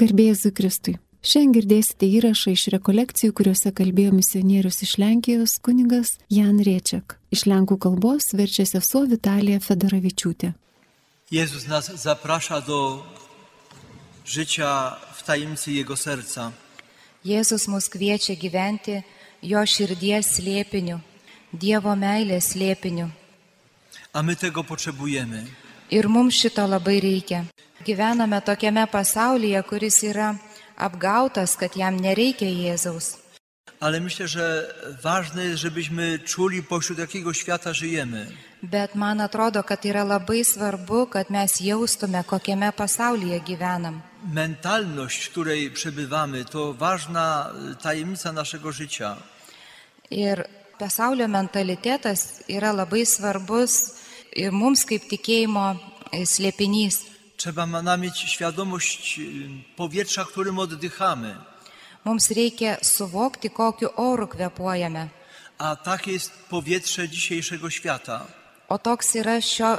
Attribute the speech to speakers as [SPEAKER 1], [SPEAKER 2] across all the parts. [SPEAKER 1] Garbėjus Kristui. Šiandien girdėsite įrašą iš rekolekcijų, kuriuose kalbėjo misionierius iš Lenkijos kunigas Jan Riečiak. Iš lenkų kalbos verčia sesuo Vitalija Fedoravičiūtė.
[SPEAKER 2] Jezus nas zaprasza do życia w tajemnicy Jego serca.
[SPEAKER 3] Jėzus mus kviečia gyventi jo širdies slėpiniu, Dievo meilės slėpiniu.
[SPEAKER 2] A my tego potrzebujemy.
[SPEAKER 3] Ir mums šito labai reikia. Gyvename tokiame pasaulyje, kuris yra apgautas, kad jam nereikia Jėzaus.
[SPEAKER 2] Ale myślę, że ważne jest, żebyśmy czuli, pośród jakiego świata żyjemy.
[SPEAKER 3] Bet man atrodo, kad yra labai svarbu, kad mes jaustume, kokiame pasaulyje gyvenam.
[SPEAKER 2] Mentalność, w której przebywamy, to ważna y, tajemnica naszego życia.
[SPEAKER 3] Ir pasaulio mentalitetas yra labai svarbus ir mums kaip tikėjimo e, slėpinys.
[SPEAKER 2] Trzeba ma- nam mieć świadomość y, powietrza, którym oddychamy.
[SPEAKER 3] Mums reikia suvokti, kokiu oru kvepuojame.
[SPEAKER 2] A takie jest powietrze dzisiejszego świata.
[SPEAKER 3] O toks yra šio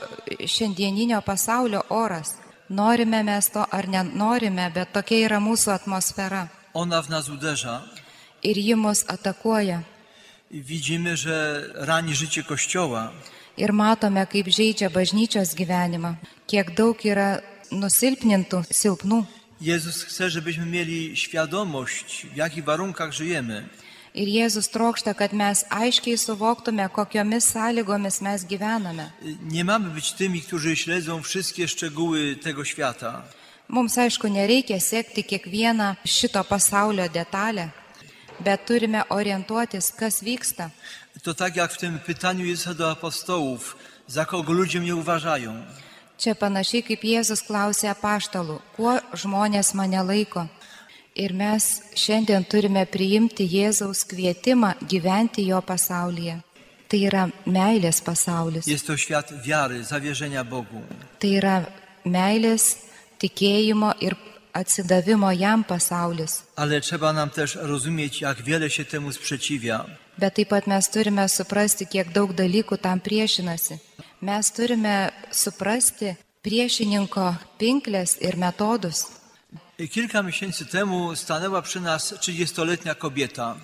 [SPEAKER 3] šiandieninio pasaulio oras. Norime mes to ar nenorime, bet tokia yra mūsų atmosfera.
[SPEAKER 2] Ona w nas uderza.
[SPEAKER 3] Ir ji mus atakuoja.
[SPEAKER 2] Widzimy, że rani życie Kościoła.
[SPEAKER 3] Ir matome, kaip žaidžia bažnyčios gyvenimą. Kiek daug yra nusilpnintų, silpnų.
[SPEAKER 2] Jezus chce, żebyśmy mieli świadomość, w jakich warunkach żyjemy.
[SPEAKER 3] Ir Jėzus trokšta, kad mes aiškiai suvoktume, kokiomis sąlygomis mes gyvename.
[SPEAKER 2] Y, Nie mamy być tymi, którzy śledzą wszystkie szczegóły tego świata.
[SPEAKER 3] Mums aišku, nereikia sekti kiekvieną šito pasaulio detalę, bet turime orientuotis, kas vyksta.
[SPEAKER 2] To tak jak w tym pytaniu Jezusa do apostołów, za kogo ludzie mnie uważają.
[SPEAKER 3] Čia panašiai kaip Jėzus klausė apaštalų, kuo žmonės mane laiko. Ir mes šiandien turime priimti Jėzaus kvietimą gyventi jo pasaulyje. Tai yra meilės pasaulis.
[SPEAKER 2] Jest to świat wiary, zawierzenia Bogu.
[SPEAKER 3] Tai yra meilės, tikėjimo ir atsidavimo jam pasaulis.
[SPEAKER 2] Ale trzeba nam też rozumieć, jak wiele się temu sprzeciwia.
[SPEAKER 3] Bet taip pat mes turime suprasti, kiek daug dalykų tam priešinasi. Mes turime suprasti priešininko pinklės ir metodus.
[SPEAKER 2] I Kilka miesięcy temu stanęła przy nas 30-letnia kobieta.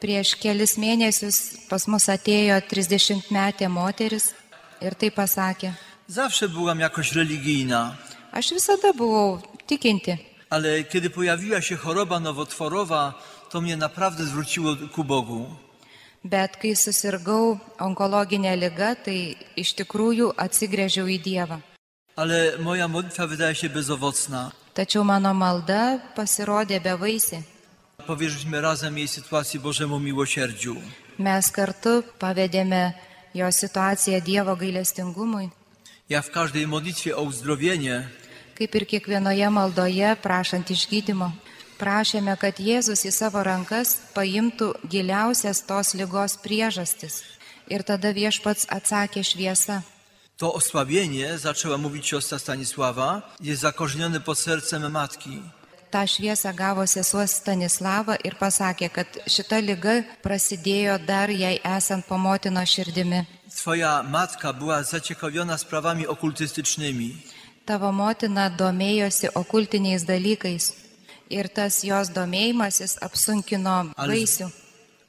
[SPEAKER 3] Prieš kelis mėnesius pas mus atėjo 30-metė moteris ir tai pasakė,
[SPEAKER 2] Zawsze byłam jakoś religijna,
[SPEAKER 3] aš visada buvau tikinti,
[SPEAKER 2] ale kiedy pojawiła się choroba nowotworowa, to mnie naprawdę zwróciło ku Bogu.
[SPEAKER 3] bet kai susirgau onkologinę ligą, tai iš tikrųjų atsigrėžiau į Dievą.
[SPEAKER 2] Ale moja modlitwa wydaje się bezowocna.
[SPEAKER 3] Tačiau mano malda pasirodė bevaisi.
[SPEAKER 2] Powierzyliśmy razem jej sytuacji Bożemu miłosierdziu.
[SPEAKER 3] Mes kartu pavedėme jo situaciją Dievo gailestingumui.
[SPEAKER 2] Ja w każdej modlitwie o uzdrowienie
[SPEAKER 3] Kaip ir kiekvienoje maldoje prašant išgydymo, prašėme, kad Jėzus į savo rankas paimtų giliausias tos lygos priežastis. Ir tada viešpats atsakė šviesą.
[SPEAKER 2] to osłabienie, zaczęła mówić siostra Stanisława, jest zakorzenione pod sercem matki.
[SPEAKER 3] Ta šviesą gavo sesuo Stanislava ir pasakė, kad šita lyga prasidėjo dar jai esant pomotino širdimi.
[SPEAKER 2] Twoja matka była zaciekawiona sprawami okultystycznymi.
[SPEAKER 3] Tavo motina domėjosi okultiniais dalykais ir tas jos domėjimasis apsunkino
[SPEAKER 2] Ale-
[SPEAKER 3] vaisių.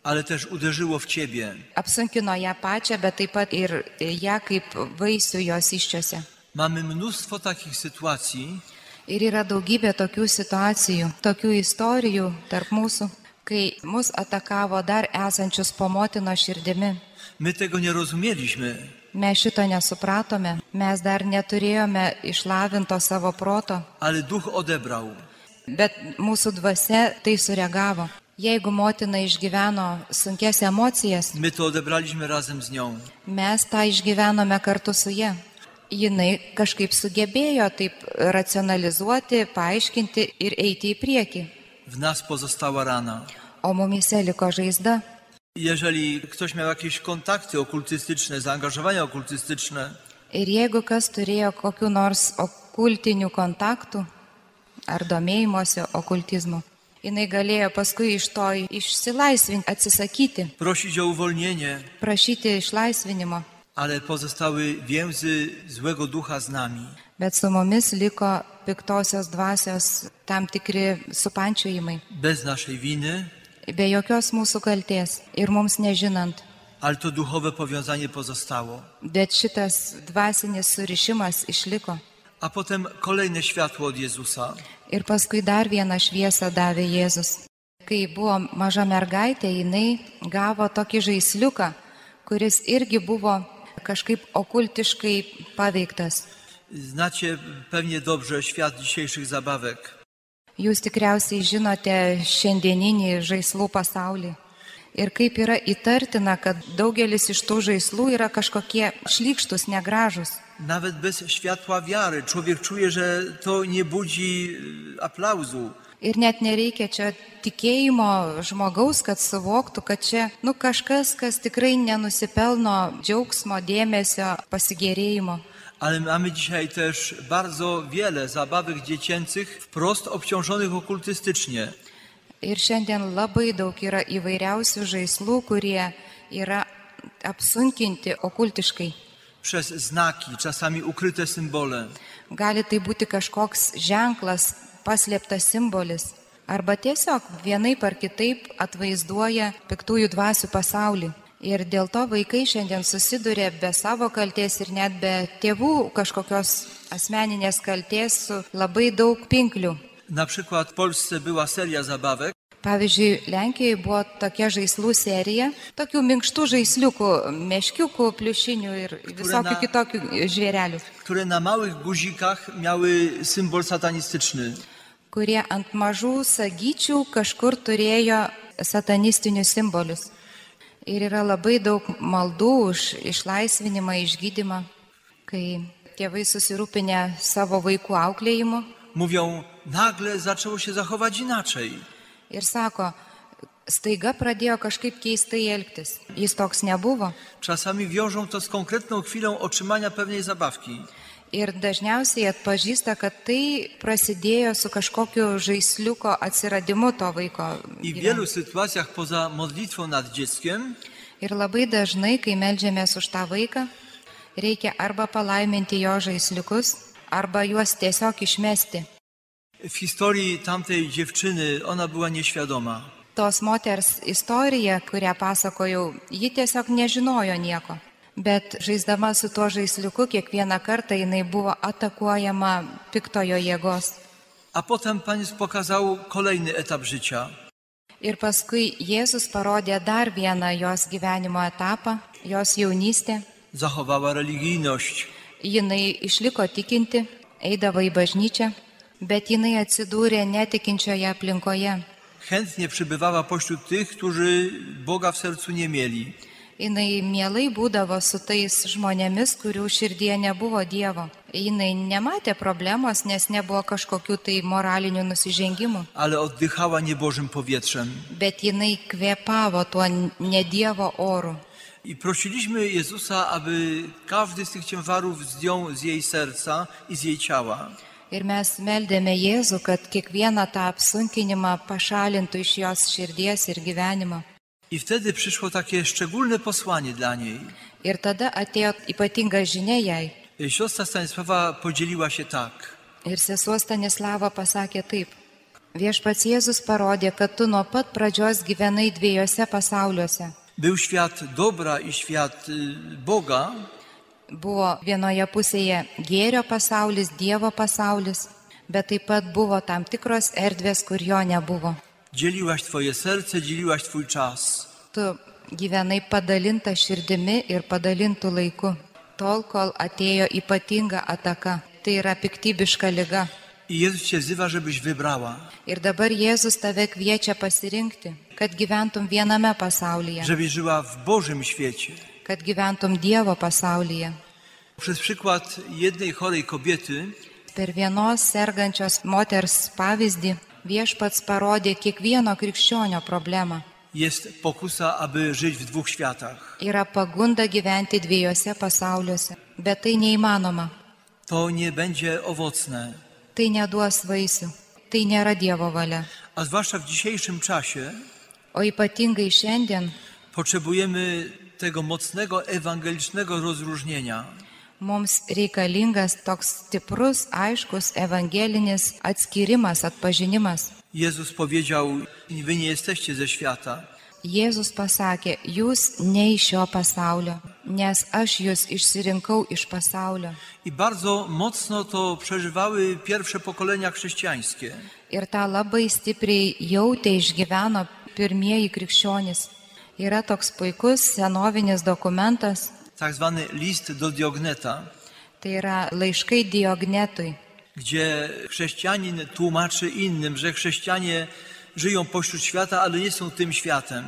[SPEAKER 2] ale też uderzyło w ciebie.
[SPEAKER 3] Apsunkino ją pačią, bet taip pat ir ją kaip vaisių jos iščiose.
[SPEAKER 2] Mamy mnóstwo takich sytuacji,
[SPEAKER 3] Ir yra daugybė tokių situacijų, tokių istorijų tarp mūsų, kai mus atakavo dar esančius pomotino širdimi.
[SPEAKER 2] my tego nie rozumieliśmy.
[SPEAKER 3] Mes šito nesupratome, mes dar neturėjome išlavinto savo proto.
[SPEAKER 2] Ale duch odebrał.
[SPEAKER 3] Bet mūsų dvasia tai sureagavo. Jeigu motina išgyveno sunkes emocijas,
[SPEAKER 2] My to odebraliśmy razem z nią.
[SPEAKER 3] mes tą išgyvenome kartu su ja. Jinai kažkaip sugebėjo taip racionalizuoti, paaiškinti ir eiti į priekį.
[SPEAKER 2] W nas pozostała rana.
[SPEAKER 3] O mumise liko žaizda.
[SPEAKER 2] Jeżeli ktoś miał jakieś kontakty okultystyczne, zaangażowania okultystyczne,
[SPEAKER 3] Ir jeigu kas turėjo kokiu nors okultinių kontaktų ar domėjimuose okultizmu, jinai galėjo paskui iš to išsilaisvinti, atsisakyti,
[SPEAKER 2] prosić o uwolnienie,
[SPEAKER 3] prašyti išlaisvinimo.
[SPEAKER 2] ale pozostały więzy złego ducha z nami.
[SPEAKER 3] bet su mumis liko piktosios dvasios tam tikri supančiojimai,
[SPEAKER 2] Bez naszej winy,
[SPEAKER 3] be jokios mūsų kalties ir mums nežinant.
[SPEAKER 2] ale to duchowe powiązanie pozostało.
[SPEAKER 3] Bet šitas dvasinis surišimas išliko.
[SPEAKER 2] A potem kolejne światło od Jezusa.
[SPEAKER 3] Ir paskui dar vieną šviesą davė Jėzus. Kai buvo maža mergaitė, jinai gavo tokį žaisliuką, kuris irgi buvo kažkaip okultiškai paveiktas.
[SPEAKER 2] Znacie pewnie dobrze świat dzisiejszych zabawek.
[SPEAKER 3] Jūs tikriausiai žinote šiandieninį žaislų pasaulį. Ir kaip yra įtartina, kad daugelis iš tų žaislų yra kažkokie šlykštus, negražus.
[SPEAKER 2] Nawet bez światła wiary człowiek czuje, że to nie budzi y, aplauzu.
[SPEAKER 3] Ir net nereikia čia tikėjimo žmogaus, kad suvoktų, kad čia nu, kažkas, kas tikrai nenusipelno džiaugsmo, dėmesio, pasigėrėjimo.
[SPEAKER 2] Ale mamy dzisiaj też bardzo wiele zabawek dziecięcych wprost obciążonych okultystycznie.
[SPEAKER 3] Ir šiandien labai daug yra įvairiausių žaislų, kurie yra apsunkinti okultiškai.
[SPEAKER 2] Przez znaki, czasami ukryte symbole.
[SPEAKER 3] Gali tai būti kažkoks ženklas, paslėptas simbolis. Arba tiesiog vienaip ar kitaip atvaizduoja piktųjų dvasių pasaulį. Ir dėl to vaikai šiandien susiduria be savo kalties ir net be tėvų kažkokios asmeninės kalties su labai daug pinklių.
[SPEAKER 2] Na przykład w Polsce była seria zabawek,
[SPEAKER 3] Pavyzdžiui, Lenkijoje buvo tokia žaislų serija, tokių minkštų žaisliukų, meškiukų, pliušinių ir visokių
[SPEAKER 2] na-
[SPEAKER 3] kitokių žvėrelių.
[SPEAKER 2] które na małych guzikach miały symbol satanistyczny.
[SPEAKER 3] kurie ant mažų sagyčių kažkur turėjo satanistinius simbolius. Ir yra labai daug maldų už išlaisvinimą, išgydymą, kai tėvai susirūpinę savo vaikų auklėjimu
[SPEAKER 2] Mówią, nagle zaczęło się zachować inaczej.
[SPEAKER 3] ir sako, staiga pradėjo kažkaip keistai elgtis. Jis toks nebuvo.
[SPEAKER 2] Czasami wiążą to z konkretną chwilą otrzymania pewnej zabawki.
[SPEAKER 3] Ir dažniausiai atpažįsta, kad tai prasidėjo su kažkokiu žaisliuko atsiradimu to vaiko.
[SPEAKER 2] I w
[SPEAKER 3] gyvenime.
[SPEAKER 2] wielu sytuacjach poza modlitwą nad dzieckiem
[SPEAKER 3] Ir labai dažnai, kai melžiamės už tą vaiką, reikia arba palaiminti jo žaisliukus, arba juos tiesiog išmesti.
[SPEAKER 2] W historii tamtej dziewczyny ona była nieświadoma.
[SPEAKER 3] Tos moters istorija, kurią pasakojau, ji tiesiog nežinojo nieko. Bet žaisdama su tuo žaisliuku kiekvieną kartą jinai buvo atakuojama piktojo jėgos.
[SPEAKER 2] A potem Pan Jezus pokazał kolejny etap życia.
[SPEAKER 3] Ir paskui Jėzus parodė dar vieną jos gyvenimo etapą, jos jaunystę.
[SPEAKER 2] Zachowała religijność.
[SPEAKER 3] Jinai išliko tikinti, eidavo į bažnyčią, bet jinai atsidūrė netikinčioje aplinkoje.
[SPEAKER 2] Chętnie przybywała pośród tych, którzy Boga w sercu nie mieli.
[SPEAKER 3] Jinai mielai būdavo su tais žmonėmis, kurių širdie nebuvo Dievo. Jinai nematė problemos, nes nebuvo kažkokių tai moralinių nusižengimų,
[SPEAKER 2] Ale oddychała niebożym powietrzem.
[SPEAKER 3] bet jinai kvepavo tuo nedievo oru.
[SPEAKER 2] I prosiliśmy Jezusa, aby każdy z tych ciężarów zdjął z jej serca i z jej ciała.
[SPEAKER 3] Ir mes meldėme Jėzų, kad kiekvieną tą apsunkinimą pašalintų iš jos širdies ir gyvenimo.
[SPEAKER 2] I wtedy przyszło takie szczególne posłanie dla niej.
[SPEAKER 3] Ir tada atėjo ypatinga žinia jai.
[SPEAKER 2] Y, Siostra Stanisława podzieliła się tak.
[SPEAKER 3] Ir sesuo Stanislava pasakė taip. Viešpats Jėzus parodė, kad tu nuo pat pradžios gyvenai dviejose pasauliuose.
[SPEAKER 2] Był świat dobra i świat y, Boga,
[SPEAKER 3] Buvo vienoje pusėje gėrio pasaulis, Dievo pasaulis, bet taip pat buvo tam tikros erdvės, kur jo nebuvo.
[SPEAKER 2] dzieliłaś Twoje serce, dzieliłaś Twój czas.
[SPEAKER 3] Tu gyvenai padalinta širdimi ir padalintų laiku, tol kol atėjo ypatinga ataka. Tai yra piktybiška lyga.
[SPEAKER 2] I Jezus Cię wzywa, żebyś wybrała,
[SPEAKER 3] Ir dabar Jėzus tave kviečia pasirinkti, kad gyventum viename pasaulyje.
[SPEAKER 2] żebyś żyła w Bożym świecie.
[SPEAKER 3] kad gyventum Dievo pasaulyje.
[SPEAKER 2] Przez przykład jednej chorej kobiety
[SPEAKER 3] Per vienos sergančios moters pavyzdį viešpats parodė kiekvieno krikščionio problemą.
[SPEAKER 2] jest pokusa, aby żyć w dwóch światach.
[SPEAKER 3] Yra pagunda gyventi dviejose pasauliuose, bet tai neįmanoma.
[SPEAKER 2] To nie będzie owocne.
[SPEAKER 3] Tai neduos vaisių. Tai nėra Dievo valia.
[SPEAKER 2] A zwłaszcza w dzisiejszym czasie
[SPEAKER 3] O ypatingai šiandien
[SPEAKER 2] potrzebujemy tego mocnego ewangelicznego rozróżnienia.
[SPEAKER 3] Mums reikalingas toks stiprus, aiškus evangelinis atskirimas, atpažinimas.
[SPEAKER 2] Jezus powiedział: Wy nie jesteście ze świata,
[SPEAKER 3] Jėzus pasakė, jūs ne iš šio pasaulio, nes aš jūs išsirinkau iš pasaulio.
[SPEAKER 2] I bardzo mocno to przeżywały pierwsze pokolenia chrześcijańskie.
[SPEAKER 3] Ir tą labai stipriai jautė išgyveno pirmieji krikščionys. Yra toks puikus senovinis dokumentas,
[SPEAKER 2] Tak zwany list do Diogneta,
[SPEAKER 3] tai yra laiškai Diognetui.
[SPEAKER 2] gdzie chrześcijanin tłumaczy innym, że chrześcijanie żyją pośród świata, ale nie są tym światem.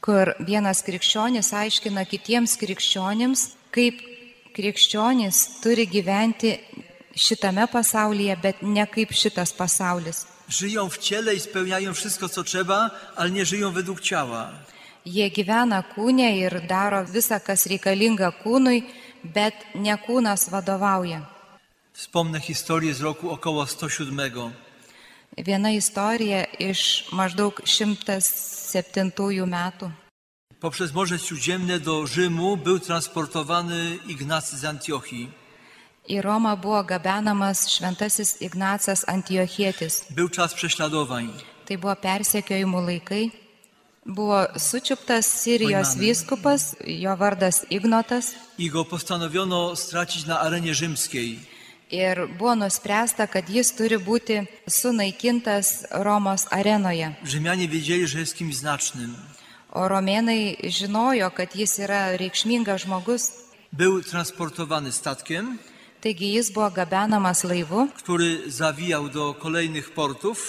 [SPEAKER 3] kur vienas krikščionis aiškina kitiems krikščionims, kaip krikščionis turi gyventi šitame pasaulyje, bet ne kaip šitas pasaulis.
[SPEAKER 2] Żyją w ciele i spełniają wszystko, co trzeba, ale nie żyją według ciała.
[SPEAKER 3] Jie gyvena kūne ir daro visą, kas reikalinga kūnui, bet ne kūnas vadovauja.
[SPEAKER 2] Wspomnę historię z roku około 107.
[SPEAKER 3] Viena istorija iš maždaug 107 metų.
[SPEAKER 2] Poprzez Morze Śródziemne do Rzymu był transportowany Ignacy z Antiochii.
[SPEAKER 3] Į Romą buvo gabenamas šventasis Ignacas Antiochietis.
[SPEAKER 2] Był czas prześladowań.
[SPEAKER 3] Tai buvo persekiojimų laikai. Buvo sučiuptas Sirijos
[SPEAKER 2] Oimanas.
[SPEAKER 3] vyskupas, jo vardas Ignotas,
[SPEAKER 2] i go postanowiono stracić na arenie rzymskiej.
[SPEAKER 3] ir buvo nuspręsta, kad jis turi būti sunaikintas Romos arenoje.
[SPEAKER 2] Rzymianie wiedzieli, że jest kimś znacznym.
[SPEAKER 3] O romėnai žinojo, kad jis yra reikšmingas žmogus,
[SPEAKER 2] Był transportowany statkiem,
[SPEAKER 3] taigi jis buvo gabenamas laivu,
[SPEAKER 2] który zawijał do kolejnych portów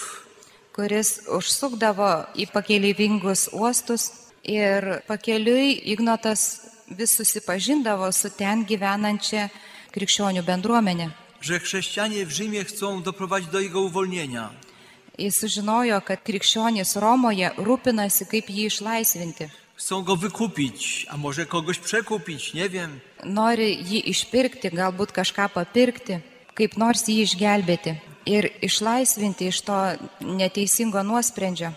[SPEAKER 3] kuris užsukdavo į pakeleivingus uostus ir pakeliui Ignotas vis susipažindavo su ten gyvenančia krikščionių bendruomenė.
[SPEAKER 2] że chrześcijanie w Rzymie chcą doprowadzić do jego uwolnienia.
[SPEAKER 3] Jis sužinojo, kad krikščionys Romoje rūpinasi, kaip jį išlaisvinti.
[SPEAKER 2] Chcą go wykupić, a może kogoś przekupić, nie wiem.
[SPEAKER 3] Nori jį išpirkti, galbūt kažką papirkti, kaip nors jį išgelbėti ir išlaisvinti iš to neteisingo nuosprendžio.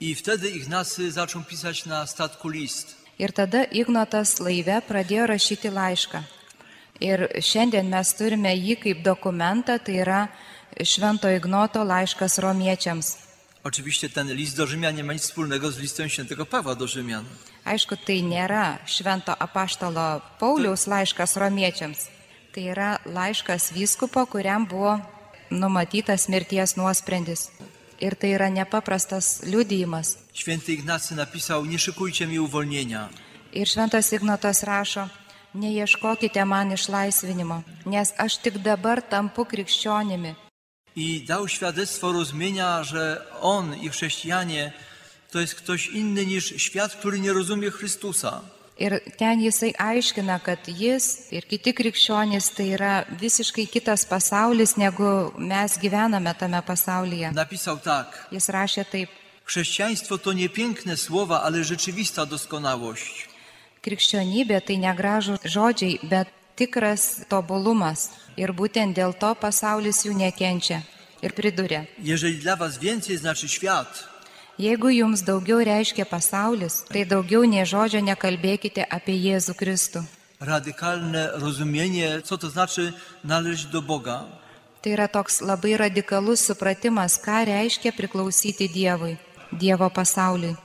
[SPEAKER 2] I wtedy Ignacy zaczął pisać na statku list.
[SPEAKER 3] Ir tada Ignotas laive pradėjo rašyti laišką. Ir šiandien mes turime jį kaip dokumentą, tai yra Švento Ignoto laiškas romiečiams.
[SPEAKER 2] Oczywiście ten list do Rzymian nie ma nic wspólnego z listem świętego Pawła do Rzymian.
[SPEAKER 3] Aišku, tai nėra švento apaštalo Pauliaus laiškas romiečiams. Tai yra laiškas vyskupo, kuriam buvo numatytas mirties nuosprendis. Ir tai yra nepaprastas liudijimas.
[SPEAKER 2] Święty Ignacy napisał, nie szykujcie mi uwolnienia.
[SPEAKER 3] Ir šventas Ignotas rašo, neieškokite man išlaisvinimo, nes aš tik dabar tampu krikščionimi.
[SPEAKER 2] i dał świadectwo rozumienia, że on i chrześcijanie to jest ktoś inny niż świat, który nie rozumie Chrystusa.
[SPEAKER 3] Ir ten jisai aiškina, kad jis ir kiti krikščionys tai yra visiškai kitas pasaulis, negu mes gyvename tame pasaulyje.
[SPEAKER 2] Napisał tak:
[SPEAKER 3] Jis rašė taip,
[SPEAKER 2] Chrześcijaństwo to nie piękne słowa, ale rzeczywista doskonałość.
[SPEAKER 3] krikščionybė tai negražų žodžiai, bet tikras tobulumas. Ir būtent dėl to pasaulis jų nekenčia. Ir pridurė,
[SPEAKER 2] Jeżeli dla was więcej znaczy świat,
[SPEAKER 3] jeigu jums daugiau reiškia pasaulis, tai daugiau nei žodžio nekalbėkite apie Jėzų Kristų.
[SPEAKER 2] radykalne rozumienie, co to znaczy należeć do Boga,
[SPEAKER 3] Tai yra toks labai radikalus supratimas, ką reiškia priklausyti Dievui, Dievo pasauliui.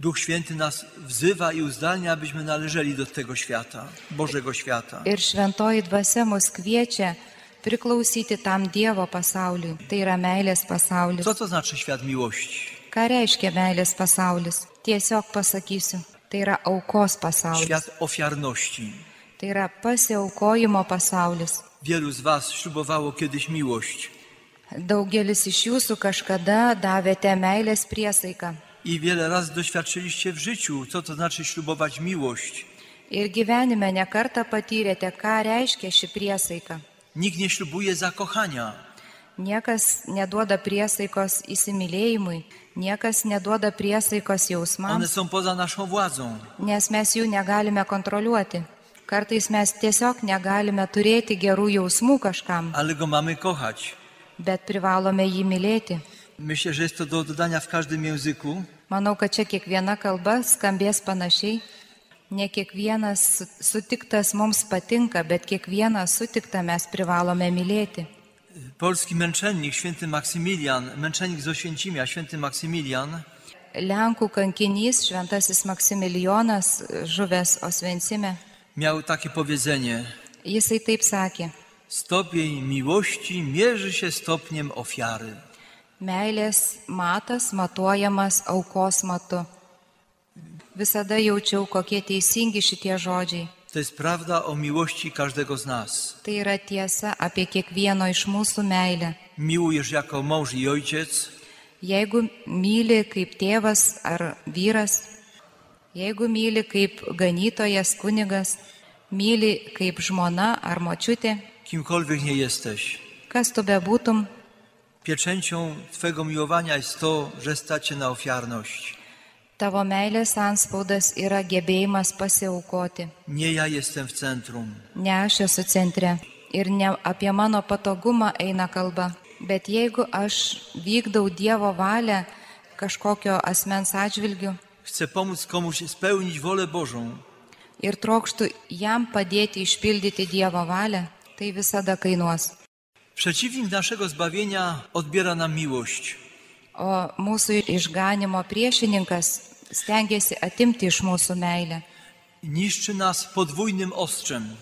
[SPEAKER 2] Duch Święty nas wzywa i uzdalnia, abyśmy należeli do tego świata, Bożego świata.
[SPEAKER 3] Ir šventoji dvasia mus kviečia priklausyti tam Dievo pasauliui. Tai yra meilės pasaulis.
[SPEAKER 2] Co to znaczy świat miłości?
[SPEAKER 3] Ką reiškia meilės pasaulis? Tiesiog pasakysiu, tai yra aukos pasaulis,
[SPEAKER 2] Świat ofiarności.
[SPEAKER 3] tai yra pasiaukojimo pasaulis.
[SPEAKER 2] Wielu z Was ślubowało kiedyś miłość
[SPEAKER 3] Daugelis iš jūsų kažkada davėte meilės priesaiką
[SPEAKER 2] i wiele razy doświadczyliście w życiu, co to znaczy ślubować miłość.
[SPEAKER 3] ir gyvenime nekarta patyrėte, ką reiškia ši priesaika.
[SPEAKER 2] Nikt nie ślubuje zakochania,
[SPEAKER 3] Niekas neduoda priesaikos įsimylėjimui, niekas neduoda priesaikos
[SPEAKER 2] one
[SPEAKER 3] jausmams,
[SPEAKER 2] są poza naszą władzą.
[SPEAKER 3] nes mes jų negalime kontroliuoti. Kartais mes tiesiog negalime turėti gerų jausmų kažkam,
[SPEAKER 2] Ale go mamy kochać.
[SPEAKER 3] bet privalome jį mylėti.
[SPEAKER 2] Myślę, że jest to do dodania w każdym języku.
[SPEAKER 3] Manau, kad čia kiekviena kalba skambės panašiai. Ne kiekvienas su- sutiktas mums patinka, bet kiekvieną sutiktą mes privalome mylėti.
[SPEAKER 2] Polski męczennik, święty Maksymilian, męczennik z Oświęcimia, święty Maksymilian,
[SPEAKER 3] Lenkų kankinys Šventasis Maksimilijonas žuvęs Osvencime,
[SPEAKER 2] miał takie powiedzenie:
[SPEAKER 3] jisai taip sakė,
[SPEAKER 2] Stopień miłości mierzy się stopniem ofiary.
[SPEAKER 3] meilės matas matuojamas aukos matu. Visada jaučiau, kokie teisingi šitie žodžiai.
[SPEAKER 2] To jest prawda o miłości każdego z nas.
[SPEAKER 3] Tai yra tiesa apie kiekvieno iš mūsų meilę.
[SPEAKER 2] Miłujesz jako mąż i ojciec,
[SPEAKER 3] Jeigu myli kaip tėvas ar vyras, jeigu myli kaip ganytojas kunigas, myli kaip žmona ar močiutė,
[SPEAKER 2] kimkolwiek nie jesteś.
[SPEAKER 3] kas tu bebūtum,
[SPEAKER 2] Pieczęcią Twego miłowania jest to, że stać się na ofiarność.
[SPEAKER 3] tavo meilės anspaudas yra gebėjimas pasiaukoti.
[SPEAKER 2] Nie ja jestem w centrum.
[SPEAKER 3] Ne aš esu centre ir ne apie mano patogumą eina kalba, bet jeigu aš vykdau Dievo valią kažkokio asmens atžvilgiu
[SPEAKER 2] Chcę pomóc komuś spełnić wolę Bożą.
[SPEAKER 3] ir trokštų jam padėti išpildyti Dievo valią, tai visada kainuos.
[SPEAKER 2] Przeciwnik naszego zbawienia odbiera nam miłość.
[SPEAKER 3] O mūsų išganimo priešininkas stengiasi atimti iš mūsų meilę.
[SPEAKER 2] Niszczy nas podwójnym ostrzem.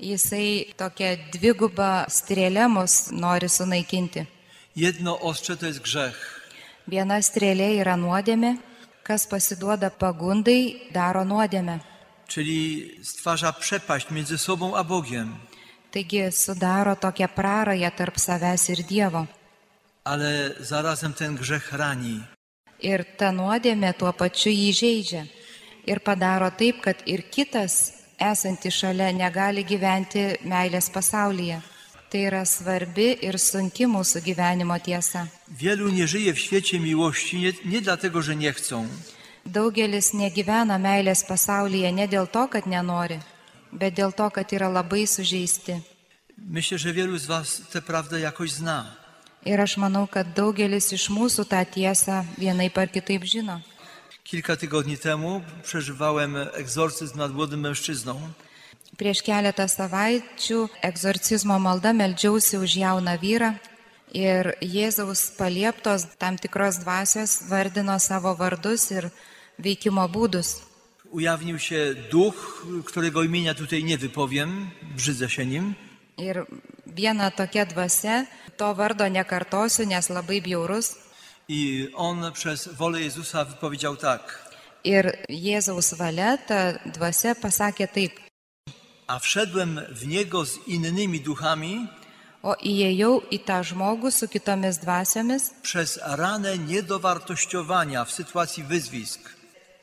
[SPEAKER 3] Jisai tokia dviguba strėlė mus nori sunaikinti.
[SPEAKER 2] Jedno ostrze to jest grzech.
[SPEAKER 3] Viena strėlė yra nuodėmė, kas pasiduoda pagundai, daro nuodėmę.
[SPEAKER 2] Czyli stwarza przepaść między sobą a Bogiem.
[SPEAKER 3] Taigi sudaro tokią prarąją tarp savęs ir Dievo.
[SPEAKER 2] Ale zarazem ten grzech rani.
[SPEAKER 3] Ir ta nuodėmė tuo pačiu jį žaidžia. Ir padaro taip, kad ir kitas, esantis šalia, negali gyventi meilės pasaulyje. Tai yra svarbi ir sunki mūsų gyvenimo tiesa.
[SPEAKER 2] Wielu nie żyje w świecie miłości nie, nie dlatego, że nie chcą,
[SPEAKER 3] Daugelis negyvena meilės pasaulyje ne dėl to, kad nenori, bet dėl to, kad yra labai sužeisti.
[SPEAKER 2] Myślę, że wielu z Was tę prawdę jakoś zna.
[SPEAKER 3] Ir aš manau, kad daugelis iš mūsų tą tiesą vienai par kitaip žino.
[SPEAKER 2] Kilka tygodni temu przeżywałem egzorcyzm nad młodym mężczyzną.
[SPEAKER 3] Prieš keletą savaičių egzorcizmo malda melžiausi už jauną vyrą ir Jėzaus palieptos tam tikros dvasios vardino savo vardus ir veikimo būdus.
[SPEAKER 2] Ujawnił się duch, którego imienia tutaj nie wypowiem, brzydzę się nim.
[SPEAKER 3] Ir viena tokia dvasia, to vardo nekartosiu, nes labai bjaurus.
[SPEAKER 2] I on przez wolę Jezusa wypowiedział tak.
[SPEAKER 3] Ir Jėzaus valia ta dvasia pasakė taip,
[SPEAKER 2] A wszedłem w niego z innymi duchami,
[SPEAKER 3] o įėjau į tą žmogų su kitomis dvasiomis,
[SPEAKER 2] przez ranę niedowartościowania w sytuacji wyzwisk.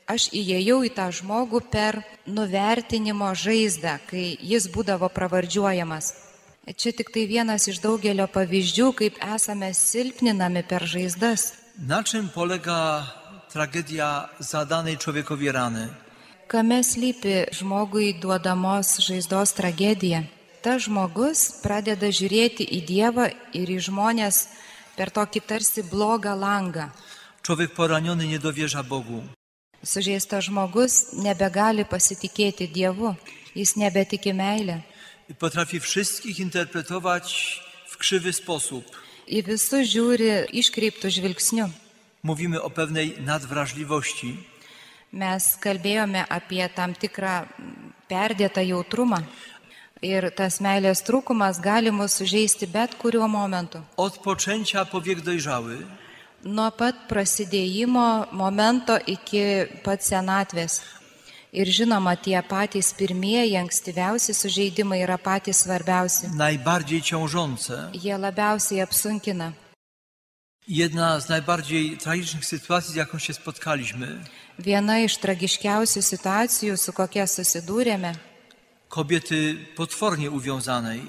[SPEAKER 3] aš įėjau į tą žmogų per nuvertinimo žaizdą, kai jis būdavo pravardžiuojamas. Čia tik tai vienas iš daugelio pavyzdžių, kaip esame silpninami per žaizdas,
[SPEAKER 2] Na czym polega tragedia zadanej człowiekowi rany?
[SPEAKER 3] kame slypi žmogui duodamos žaizdos tragedija. Ta žmogus pradeda žiūrėti į Dievą ir į žmonės per tokį tarsi blogą langą.
[SPEAKER 2] Człowiek poraniony nie dowierza Bogu.
[SPEAKER 3] Sužeistas žmogus nebegali pasitikėti Dievu, jis nebetiki meilę.
[SPEAKER 2] potrafi wszystkich interpretować w krzywy sposób.
[SPEAKER 3] Į visus žiūri iškreiptų žvilgsnių.
[SPEAKER 2] Mówimy o pewnej nadwrażliwości.
[SPEAKER 3] Mes kalbėjome apie tam tikrą mm, perdėtą jautrumą. Ir tas meilės trūkumas gali mus sužeisti bet kuriuo momentu.
[SPEAKER 2] Od poczęcia po wiek dojrzały
[SPEAKER 3] Nuo pat prasidėjimo momento iki pat senatvės. Ir žinoma, tie patys pirmieji, ankstyviausi sužeidimai yra patys svarbiausi.
[SPEAKER 2] najbardziej ciążące.
[SPEAKER 3] Jie labiausiai apsunkina.
[SPEAKER 2] Jedna z najbardziej tragicznych sytuacji, z jaką się spotkaliśmy.
[SPEAKER 3] Viena iš tragiškiausių situacijų, su kokia susidūrėme,
[SPEAKER 2] Kobiety potwornie uwiązanej.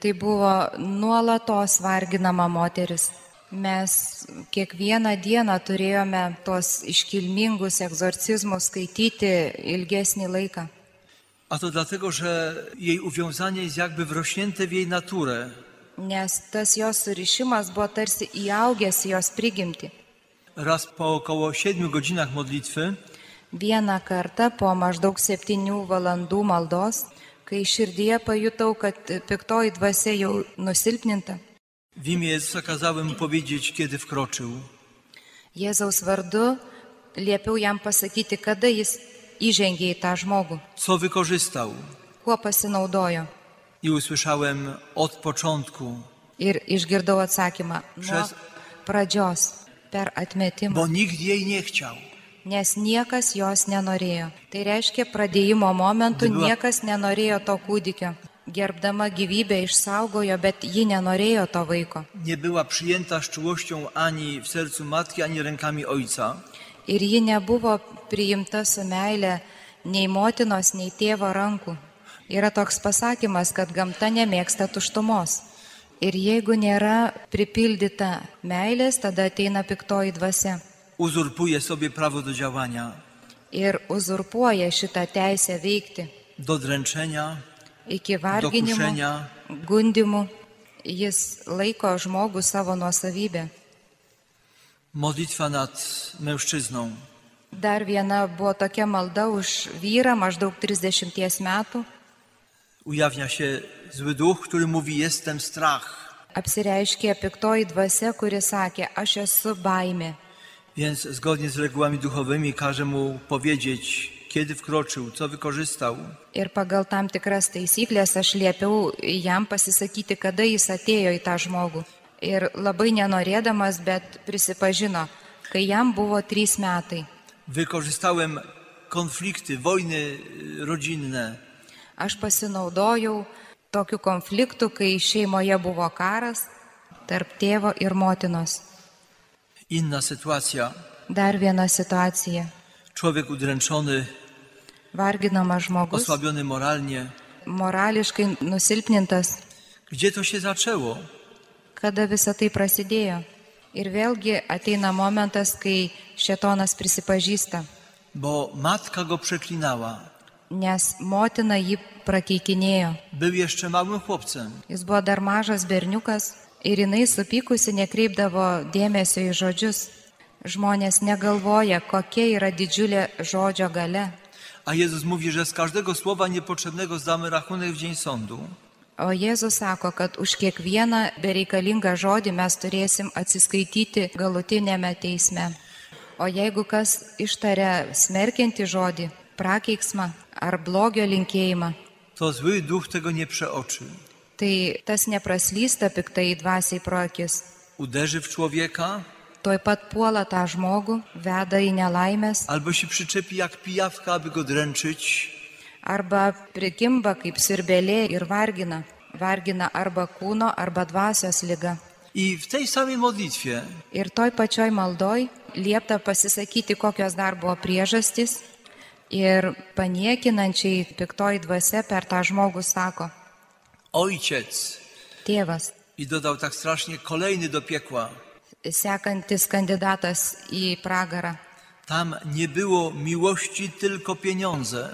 [SPEAKER 3] Tai buvo nuolatos varginama moteris. Mes kiekvieną dieną turėjome tuos iškilmingus egzorcizmus skaityti ilgesnį laiką.
[SPEAKER 2] A to dlatego, że jej uwiązanie jest jakby wrośnięte w jej naturę.
[SPEAKER 3] Nes tas jos surišimas buvo tarsi įaugęs į jos prigimti.
[SPEAKER 2] Raz po około siedmiu godzinach modlitwy
[SPEAKER 3] Vieną kartą po maždaug septynių valandų maldos, kai širdyje pajutau, kad piktoji dvasia jau nusilpninta,
[SPEAKER 2] W imię Jezusa kazałem powiedzieć, kiedy wkroczył.
[SPEAKER 3] Jėzaus vardu liepiau jam pasakyti, kada jis įžengė į tą žmogų,
[SPEAKER 2] Co wykorzystał?
[SPEAKER 3] kuo pasinaudojo.
[SPEAKER 2] I usłyszałem od początku,
[SPEAKER 3] Ir išgirdau atsakymą nuo
[SPEAKER 2] Šis-
[SPEAKER 3] pradžios per atmetimą,
[SPEAKER 2] bo nikt jej nie chciał.
[SPEAKER 3] nes niekas jos nenorėjo. Tai reiškia, pradėjimo momentu
[SPEAKER 2] Dabar-
[SPEAKER 3] niekas nenorėjo to kūdikio. Gerbdama gyvybę išsaugojo, bet ji nenorėjo to vaiko.
[SPEAKER 2] Nie była przyjęta z czułością ani w sercu matki, ani rękami ojca.
[SPEAKER 3] Ir ji nebuvo priimta su meile nei motinos, nei tėvo rankų. Yra toks pasakymas, kad gamta nemėgsta tuštumos. Ir jeigu nėra pripildyta meilės, tada ateina piktoji dvasia
[SPEAKER 2] Uzurpuje sobie prawo do działania,
[SPEAKER 3] ir uzurpuoja šitą teisę veikti
[SPEAKER 2] do dręczenia,
[SPEAKER 3] iki
[SPEAKER 2] do
[SPEAKER 3] varginimo,
[SPEAKER 2] kuszenia.
[SPEAKER 3] gundimų. Jis laiko žmogų savo nuosavybę.
[SPEAKER 2] Modlitwa nad mężczyzną.
[SPEAKER 3] Dar viena buvo tokia malda už vyrą maždaug 30 metų.
[SPEAKER 2] Ujawnia się zły duch, który mówi: Jestem strach.
[SPEAKER 3] apsireiškė piktoji dvasia, kuri sakė, aš esu baimė.
[SPEAKER 2] Więc zgodnie z regułami duchowymi każe mu powiedzieć, kiedy wkroczył, co wykorzystał.
[SPEAKER 3] Ir pagal tam tikras taisyklės aš liepiau jam pasisakyti, kada jis atėjo į tą žmogų. Ir labai nenorėdamas, bet prisipažino, kai jam buvo trys metai.
[SPEAKER 2] Wykorzystałem konflikty, wojny y, rodzinne.
[SPEAKER 3] Aš pasinaudojau tokiu konfliktu, kai šeimoje buvo karas tarp tėvo ir motinos.
[SPEAKER 2] Inna sytuacja.
[SPEAKER 3] Dar viena situacija.
[SPEAKER 2] Człowiek udręczony,
[SPEAKER 3] Varginamas žmogus,
[SPEAKER 2] osłabiony moralnie.
[SPEAKER 3] morališkai nusilpnintas,
[SPEAKER 2] Gdzie to się zaczęło?
[SPEAKER 3] kada visa tai prasidėjo. Ir vėlgi ateina momentas, kai šetonas prisipažįsta,
[SPEAKER 2] Bo matka go przeklinała.
[SPEAKER 3] nes motina jį prakeikinėjo.
[SPEAKER 2] Był jeszcze małym chłopcem.
[SPEAKER 3] Jis buvo dar mažas berniukas ir jinai supykusi nekreipdavo dėmesio į žodžius. Žmonės negalvoja, kokia yra didžiulė žodžio gale.
[SPEAKER 2] A Jezus mówi, że z każdego słowa niepotrzebnego zdamy rachunek w dzień sądu.
[SPEAKER 3] O Jėzus sako, kad už kiekvieną bereikalingą žodį mes turėsim atsiskaityti galutinėme teisme. O jeigu kas ištaria smerkiantį žodį, prakeiksmą ar blogio linkėjimą,
[SPEAKER 2] To zły duch tego nie przeoczy.
[SPEAKER 3] tai tas nepraslysta piktai dvasiai pro akis.
[SPEAKER 2] Uderzy w człowieka
[SPEAKER 3] Tuoj pat puola tą žmogų, veda į nelaimės
[SPEAKER 2] albo się przyczepi jak pijawka, aby go dręczyć.
[SPEAKER 3] arba prikimba kaip sirbelė ir vargina. Vargina arba kūno, arba dvasios lyga.
[SPEAKER 2] I w tej samej modlitwie
[SPEAKER 3] Ir toj pačioj maldoj liepta pasisakyti, kokios dar buvo priežastys. Ir paniekinančiai piktoji dvasia per tą žmogų sako,
[SPEAKER 2] ojciec
[SPEAKER 3] tėvas,
[SPEAKER 2] i dodał tak strasznie kolejny do piekła.
[SPEAKER 3] sekantis kandidatas į pragarą,
[SPEAKER 2] Tam nie było miłości, tylko pieniądze.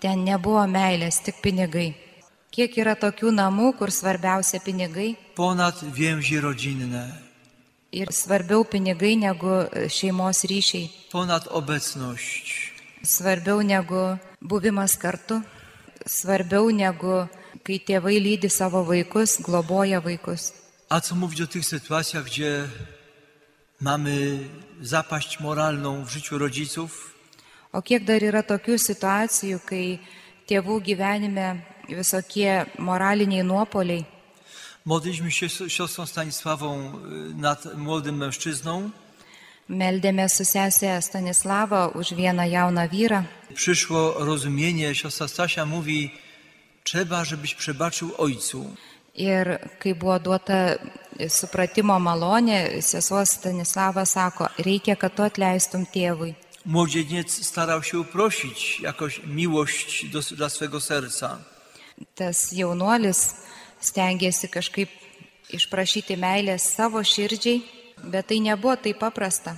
[SPEAKER 3] ten nebuvo meilės, tik pinigai. Kiek yra tokių namų, kur svarbiausia pinigai
[SPEAKER 2] Ponad więzi rodzinne,
[SPEAKER 3] ir svarbiau pinigai negu šeimos ryšiai,
[SPEAKER 2] ponad obecność,
[SPEAKER 3] svarbiau negu buvimas kartu, svarbiau negu kai tėvai lydi savo vaikus, globoja vaikus.
[SPEAKER 2] A co mówić o tych sytuacjach, gdzie mamy zapaść moralną w życiu rodziców?
[SPEAKER 3] O kiek dar yra tokių situacijų, kai tėvų gyvenime visokie moraliniai nuopoliai?
[SPEAKER 2] Modliliśmy się z siostrą Stanisławą y, nad młodym mężczyzną.
[SPEAKER 3] Meldėme su sesė Stanislavą už vieną jauną vyrą.
[SPEAKER 2] Przyszło rozumienie, siostra Stasia mówi, trzeba, żebyś przebaczył ojcu.
[SPEAKER 3] Ir kai buvo duota supratimo malonė, sesuo Stanislava sako, reikia, kad tu atleistum tėvui.
[SPEAKER 2] Młodzieniec starał się uprosić jakoś miłość do, dla swego serca.
[SPEAKER 3] Tas jaunuolis stengiasi kažkaip išprašyti meilės savo širdžiai, bet tai nebuvo taip paprasta.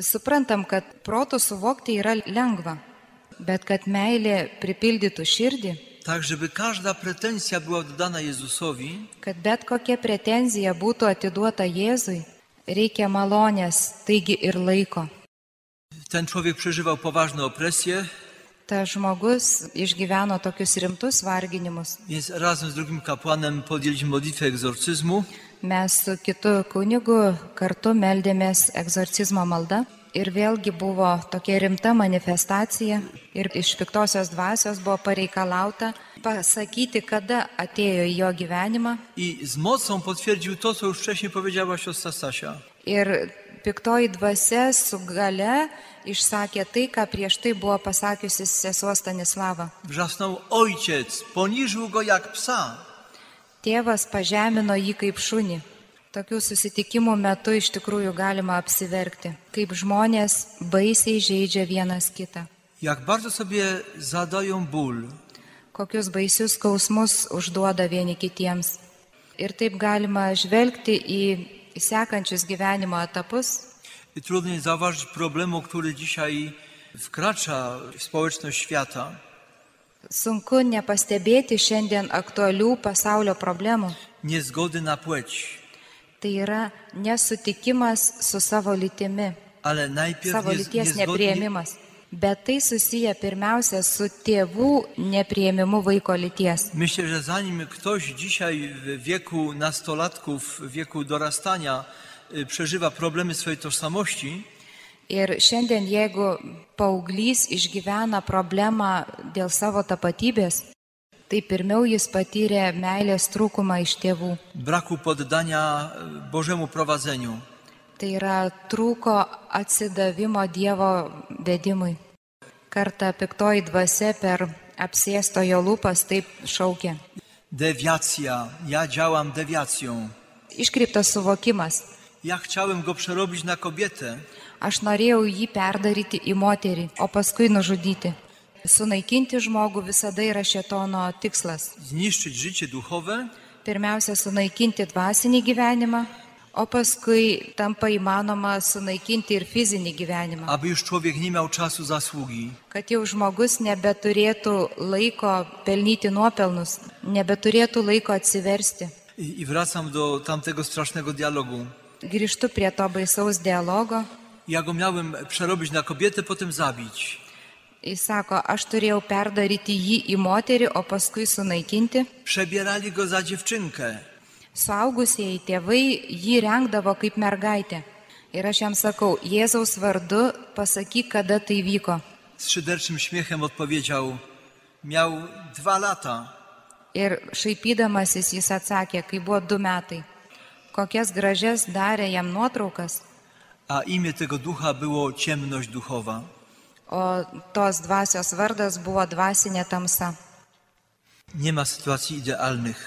[SPEAKER 3] Suprantam, kad protų suvokti yra lengva, bet kad meilė pripildytų širdį,
[SPEAKER 2] Tak, żeby każda pretensja była oddana Jezusowi,
[SPEAKER 3] kad bet kokia pretenzija būtų atiduota Jėzui, reikia malonės, taigi ir laiko.
[SPEAKER 2] Ten człowiek przeżywał poważne opresje,
[SPEAKER 3] Ta žmogus išgyveno tokius rimtus varginimus.
[SPEAKER 2] więc razem z drugim kapłanem podjęliśmy modlitwę egzorcyzmu.
[SPEAKER 3] Mes su kitu kunigu kartu meldėmės egzorcizmo maldą. Ir vėlgi buvo tokia rimta manifestacija ir iš piktosios dvasios buvo pareikalauta pasakyti, kada atėjo į jo gyvenimą.
[SPEAKER 2] I z mocą potwierdził to, co już wcześniej powiedziała siostra Stasia.
[SPEAKER 3] Ir piktoji dvasia su gale išsakė tai, ką prieš tai buvo pasakiusi sesuo Stanislava.
[SPEAKER 2] Wrzasnął ojciec, poniżył go jak psa.
[SPEAKER 3] Tėvas pažemino jį kaip šunį. Tokių susitikimų metu iš tikrųjų galima apsiverkti, kaip žmonės baisiai žaidžia vienas kitą.
[SPEAKER 2] Jak bardzo sobie zadają ból.
[SPEAKER 3] Kokius baisius skausmus užduoda vieni kitiems. Ir taip galima žvelgti į sekančius gyvenimo etapus.
[SPEAKER 2] I trudno nie zauważyć problemu, który dzisiaj wkracza w społeczność świata.
[SPEAKER 3] Sunku nepastebėti šiandien aktualių pasaulio problemų.
[SPEAKER 2] Niezgody na płeć.
[SPEAKER 3] Tai yra nesutikimas su savo lytimi.
[SPEAKER 2] Ale najpierw
[SPEAKER 3] savo
[SPEAKER 2] nie,
[SPEAKER 3] lyties
[SPEAKER 2] niezgodnie,
[SPEAKER 3] neprieimimas. Bet tai susiję pirmiausia su tėvų neprieimimu vaiko lyties.
[SPEAKER 2] Myślę, że zanim ktoś dzisiaj w wieku nastolatków, w wieku dorastania y, przeżywa problemy swojej tożsamości,
[SPEAKER 3] Ir šiandien, jeigu paauglys išgyvena problemą dėl savo tapatybės, tai pirmiau jis patyrė meilės trūkumą iš tėvų.
[SPEAKER 2] braku poddania y, Bożemu prowadzeniu.
[SPEAKER 3] Tai yra trūko atsidavimo Dievo vedimui. Karta piktoji dvasia per apsėstojo lūpas taip šaukė.
[SPEAKER 2] Dewiacja. Ja działam dewiacją.
[SPEAKER 3] Iškreiptas suvokimas.
[SPEAKER 2] Ja chciałem go przerobić na kobietę.
[SPEAKER 3] Aš norėjau jį perdaryti į moterį, o paskui nužudyti. Sunaikinti žmogų visada yra šetono tikslas.
[SPEAKER 2] zniszczyć życie duchowe,
[SPEAKER 3] Pirmiausia, sunaikinti dvasinį gyvenimą, o paskui tampa įmanoma sunaikinti ir fizinį gyvenimą.
[SPEAKER 2] aby już człowiek nie miał czasu zasługi.
[SPEAKER 3] Kad jau žmogus nebeturėtų laiko pelnyti nuopelnus, nebeturėtų laiko atsiversti.
[SPEAKER 2] I, I wracam do tamtego strasznego dialogu.
[SPEAKER 3] Grįžtu prie to baisaus dialogo.
[SPEAKER 2] Ja go miałem przerobić na kobietę, potem zabić.
[SPEAKER 3] Jis sako, aš turėjau perdaryti jį į moterį, o paskui sunaikinti.
[SPEAKER 2] Przebierali go za dziewczynkę.
[SPEAKER 3] Suaugusieji tėvai jį rengdavo kaip mergaitę. Ir aš jam sakau, Jėzaus vardu pasakyk, kada tai vyko.
[SPEAKER 2] Z szyderczym śmiechem odpowiedział: Miał dwa lata.
[SPEAKER 3] Ir šaipydamasis jis atsakė, kai buvo du metai. Kokias gražias darė jam nuotraukas,
[SPEAKER 2] A imię tego ducha było ciemność duchowa.
[SPEAKER 3] o tos dvasios vardas buvo dvasinė tamsa.
[SPEAKER 2] Nie ma sytuacji idealnych.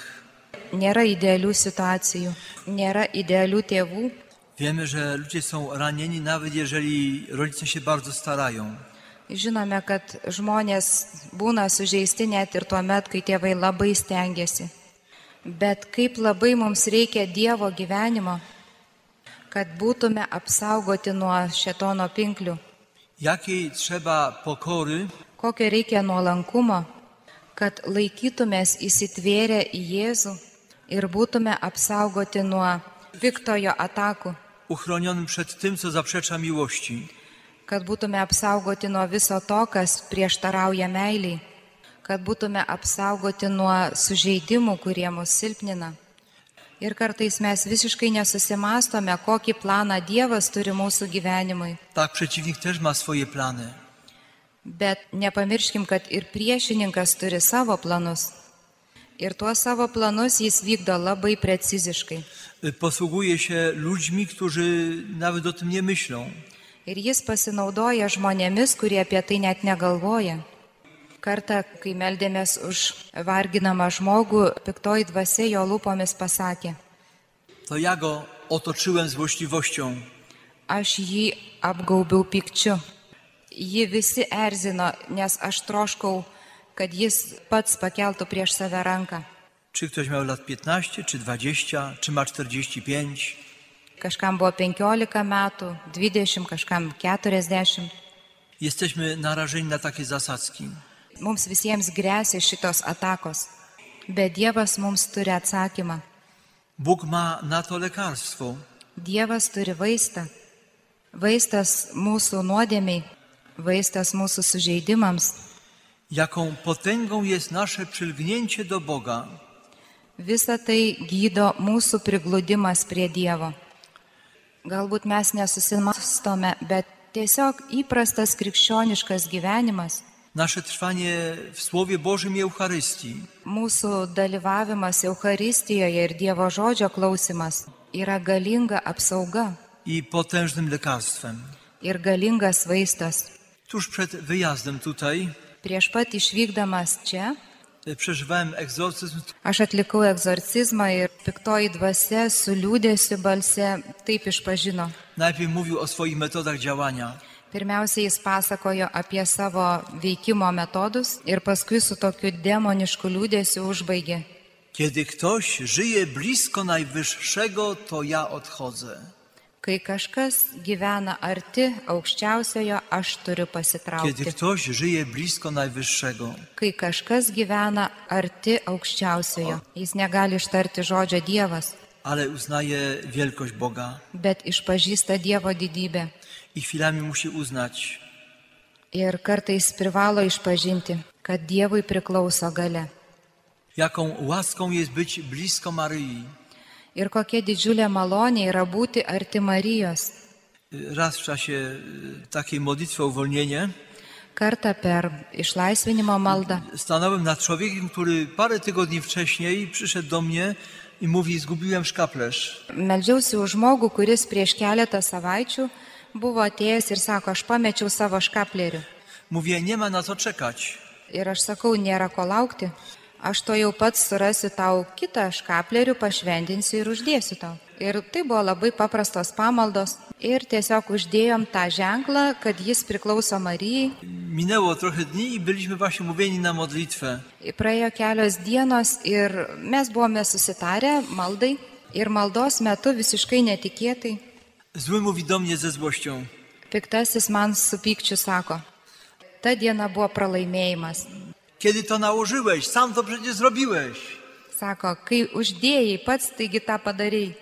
[SPEAKER 3] Nėra idealių situacijų, nėra idealių tėvų.
[SPEAKER 2] Wiemy, że ludzie są ranieni, nawet jeżeli rodzice się bardzo starają.
[SPEAKER 3] Žinome, kad žmonės būna sužeisti net ir tuo met, kai tėvai labai stengiasi. Bet kaip labai mums reikia Dievo gyvenimo, kad būtume apsaugoti nuo šetono pinklių.
[SPEAKER 2] Jakiej trzeba pokory,
[SPEAKER 3] Kokio reikia nuolankumo, kad laikytumės įsitvėrę į Jėzų ir būtume apsaugoti nuo piktojo atakų,
[SPEAKER 2] uchronionym przed tym, co zaprzecza miłości.
[SPEAKER 3] kad būtume apsaugoti nuo viso to, kas prieštarauja meiliai, kad būtume apsaugoti nuo sužeidimų, kurie mus silpnina. Ir kartais mes visiškai nesusimastome, kokį planą Dievas turi mūsų gyvenimui.
[SPEAKER 2] Tak, przeciwnik też ma swoje plany.
[SPEAKER 3] Bet nepamirškim, kad ir priešininkas turi savo planus. Ir tuos savo planus jis vykdo labai preciziškai.
[SPEAKER 2] Y, Posługuje się ludźmi, którzy nawet o tym nie myślą.
[SPEAKER 3] Ir jis pasinaudoja žmonėmis, kurie apie tai net negalvoja. Kartą, kai meldėmės už varginamą žmogų, piktoji dvasia jo lūpomis pasakė,
[SPEAKER 2] To ja go otoczyłem złośliwością.
[SPEAKER 3] aš jį apgaubiau pikčiu. Jį visi erzino, nes aš troškau, kad jis pats pakeltų prieš save ranką.
[SPEAKER 2] Czy ktoś miał lat 15, czy 20, czy ma 45?
[SPEAKER 3] Kažkam buvo 15 metų, 20, kažkam 40.
[SPEAKER 2] Jesteśmy narażeni na takie zasadzki.
[SPEAKER 3] Mums visiems grėsia šitos atakos. Bet Dievas mums turi atsakymą.
[SPEAKER 2] Bóg ma na to lekarstwo.
[SPEAKER 3] Dievas turi vaistą. Vaistas mūsų nuodėmiai, vaistas mūsų sužeidimams,
[SPEAKER 2] Jaką potęgą jest nasze przylgnięcie do Boga.
[SPEAKER 3] visa tai gydo mūsų prigludimas prie Dievo. Galbūt mes nesusimastome, bet tiesiog įprastas krikščioniškas gyvenimas,
[SPEAKER 2] Nasze trwanie w Słowie Bożym i Eucharystii.
[SPEAKER 3] mūsų dalyvavimas Eucharistijoje ir Dievo žodžio klausimas yra galinga apsauga
[SPEAKER 2] i potężnym lekarstwem.
[SPEAKER 3] ir galingas vaistas.
[SPEAKER 2] Tuż przed wyjazdem tutaj
[SPEAKER 3] Prieš pat išvykdamas čia,
[SPEAKER 2] e, przeżywałem egzorcyzm,
[SPEAKER 3] aš atlikau egzorcizmą ir piktoji dvasia su liūdėsiu balse taip išpažino.
[SPEAKER 2] najpierw mówił o swoich metodach działania.
[SPEAKER 3] Pirmiausia, jis pasakojo apie savo veikimo metodus ir paskui su tokiu demonišku liūdėsiu užbaigė.
[SPEAKER 2] Kiedy ktoś żyje blisko Najwyższego, to ja odchodzę.
[SPEAKER 3] Kai kažkas gyvena arti aukščiausiojo, aš turiu
[SPEAKER 2] Kiedy
[SPEAKER 3] pasitraukti.
[SPEAKER 2] ktoś żyje blisko Najwyższego,
[SPEAKER 3] Kai kažkas gyvena arti aukščiausiojo, jis negali ištarti žodžio Dievas,
[SPEAKER 2] ale uznaje wielkość Boga
[SPEAKER 3] bet išpažįsta Dievo didybę.
[SPEAKER 2] i chwilami musi uznać,
[SPEAKER 3] Ir kartais privalo išpažinti, kad Dievui priklauso gale.
[SPEAKER 2] jaką łaską jest być blisko Maryi.
[SPEAKER 3] Ir kokia didžiulė malonė yra būti arti Marijos.
[SPEAKER 2] Y, Raz w czasie y, takiej modlitwy o uwolnienie
[SPEAKER 3] Kartą per išlaisvinimo maldą
[SPEAKER 2] Stanąłem nad człowiekiem, który parę tygodni wcześniej przyszedł do mnie i mówi: Zgubiłem szkaplerz.
[SPEAKER 3] meldžiausi už žmogų, kuris prieš keletą savaičių buvo atėjęs ir sako, aš pamečiau savo škaplerių.
[SPEAKER 2] Mówię: Nie ma na to czekać.
[SPEAKER 3] Ir aš sakau, nėra ko laukti. Aš to jau pats surasiu tau kitą škaplerių, pašvendinsiu ir uždėsiu tau. Ir tai buvo labai paprastos pamaldos. Ir tiesiog uždėjom tą ženklą, kad jis priklauso Marijai.
[SPEAKER 2] Minęło trochę dni i byliśmy właśnie mówieni na modlitwę.
[SPEAKER 3] Ir Praėjo kelios dienos ir mes buvome susitarę maldai. Ir maldos metu visiškai netikėtai
[SPEAKER 2] Zły mówi do mnie ze złością:
[SPEAKER 3] piktasis man su pykčiu sako, ta diena buvo pralaimėjimas.
[SPEAKER 2] Kiedy to nałożyłeś? Sam to przecież zrobiłeś.
[SPEAKER 3] Sako, kai uždėjai pats, taigi tą padarai.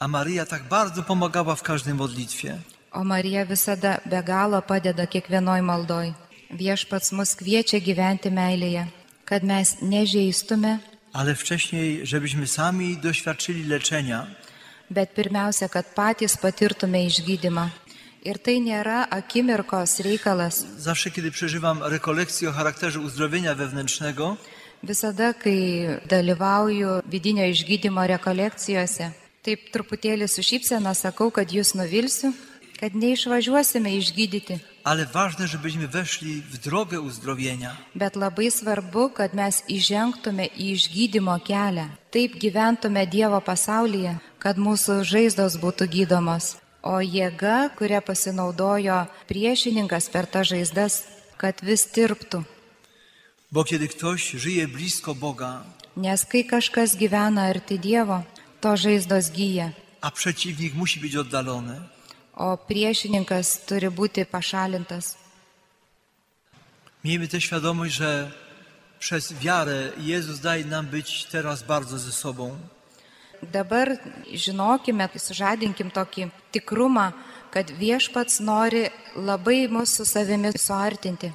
[SPEAKER 2] A Maryja tak bardzo pomagała w każdej modlitwie.
[SPEAKER 3] O Marija visada be galo padeda kiekvienoj maldoj. Viešpats mus kviečia gyventi meilėje, kad mes nežeistume,
[SPEAKER 2] Ale wcześniej, żebyśmy sami doświadczyli leczenia.
[SPEAKER 3] bet pirmiausia, kad patys patirtume išgydymą. Ir tai nėra akimirkos reikalas.
[SPEAKER 2] Zawsze, kiedy przeżywam rekolekcję o charakterze uzdrowienia wewnętrznego,
[SPEAKER 3] Visada, kai dalyvauju vidinio išgydymo rekolekcijose, taip truputėlį su šypsena sakau, kad jūs nuvilsiu, kad neišvažiuosime išgydyti,
[SPEAKER 2] ale ważne, żebyśmy weszli w drogę uzdrowienia.
[SPEAKER 3] bet labai svarbu, kad mes įžengtume į išgydymo kelią, taip gyventume Dievo pasaulyje, kad mūsų žaizdos būtų gydomos, o jėga, kurią pasinaudojo priešininkas per tą žaizdas, kad vis tirptų.
[SPEAKER 2] Bo kiedy ktoś żyje blisko Boga,
[SPEAKER 3] Nes kai kažkas gyvena arti Dievo, to žaizdos gyja.
[SPEAKER 2] a przeciwnik musi być oddalony,
[SPEAKER 3] o priešininkas turi būti pašalintas.
[SPEAKER 2] miejmy tę świadomość, że przez wiarę Jezus daje nam być teraz bardzo ze sobą.
[SPEAKER 3] Dabar žinokime, sužadinkim tokį tikrumą, kad viešpats nori labai mūsų su savimi suartinti.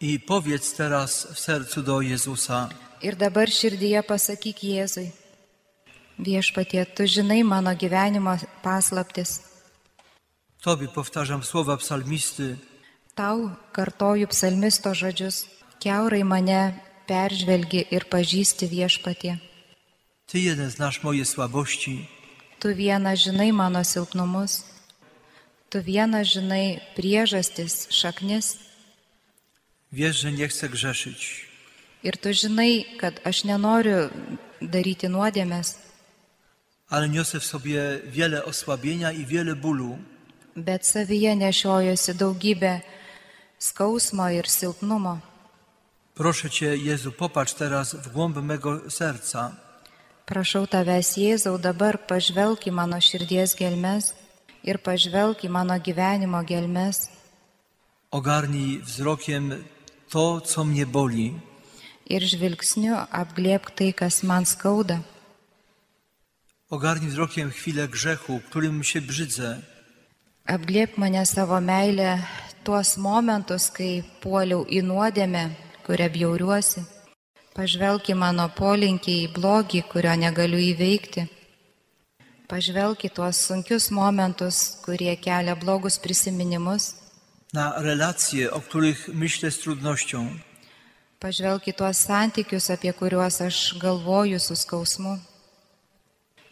[SPEAKER 2] I powiedz teraz w sercu do Jezusa:
[SPEAKER 3] Ir dabar širdyje pasakyk Jėzui, viešpatie, tu žinai mano gyvenimo paslaptis.
[SPEAKER 2] Tobie powtarzam słowa psalmisty:
[SPEAKER 3] Tau kartoju psalmisto žodžius, keurai mane peržvelgi ir pažįsti viešpatie.
[SPEAKER 2] Ty jeden znasz moje słabości,
[SPEAKER 3] Tu viena žinai mano silpnumus, tu viena žinai priežastis, šaknis
[SPEAKER 2] wiesz, że nie chcę grzeszyć.
[SPEAKER 3] ir tu žinai, kad aš nenoriu daryti nuodėmės,
[SPEAKER 2] Ale niosę w sobie wiele osłabienia i wiele bólu.
[SPEAKER 3] bet savyje nešiojosi daugybę skausmo ir silpnumo.
[SPEAKER 2] Proszę Cię, Jezu, popatrz teraz w głąb mego serca.
[SPEAKER 3] Prašau tavęs, Jėzau, dabar pažvelk į mano širdies gelmes ir pažvelk į mano gyvenimo gelmes
[SPEAKER 2] Ogarnij wzrokiem to, co mnie boli.
[SPEAKER 3] ir žvilgsniu apglėpk tai, kas man skauda.
[SPEAKER 2] Ogarnij wzrokiem chwilę grzechu, którym się brzydzę.
[SPEAKER 3] Apglėp mane savo meilę tuos momentus, kai puoliau į nuodėmę, kurią bjauriuosi. Pažvelk į mano polinkį į blogį, kurio negaliu įveikti. Pažvelk į tuos sunkius momentus, kurie kelia blogus prisiminimus.
[SPEAKER 2] na relacje, o których myślę z trudnością,
[SPEAKER 3] Pažvelk į tuos santykius, apie kuriuos aš galvoju su skausmu.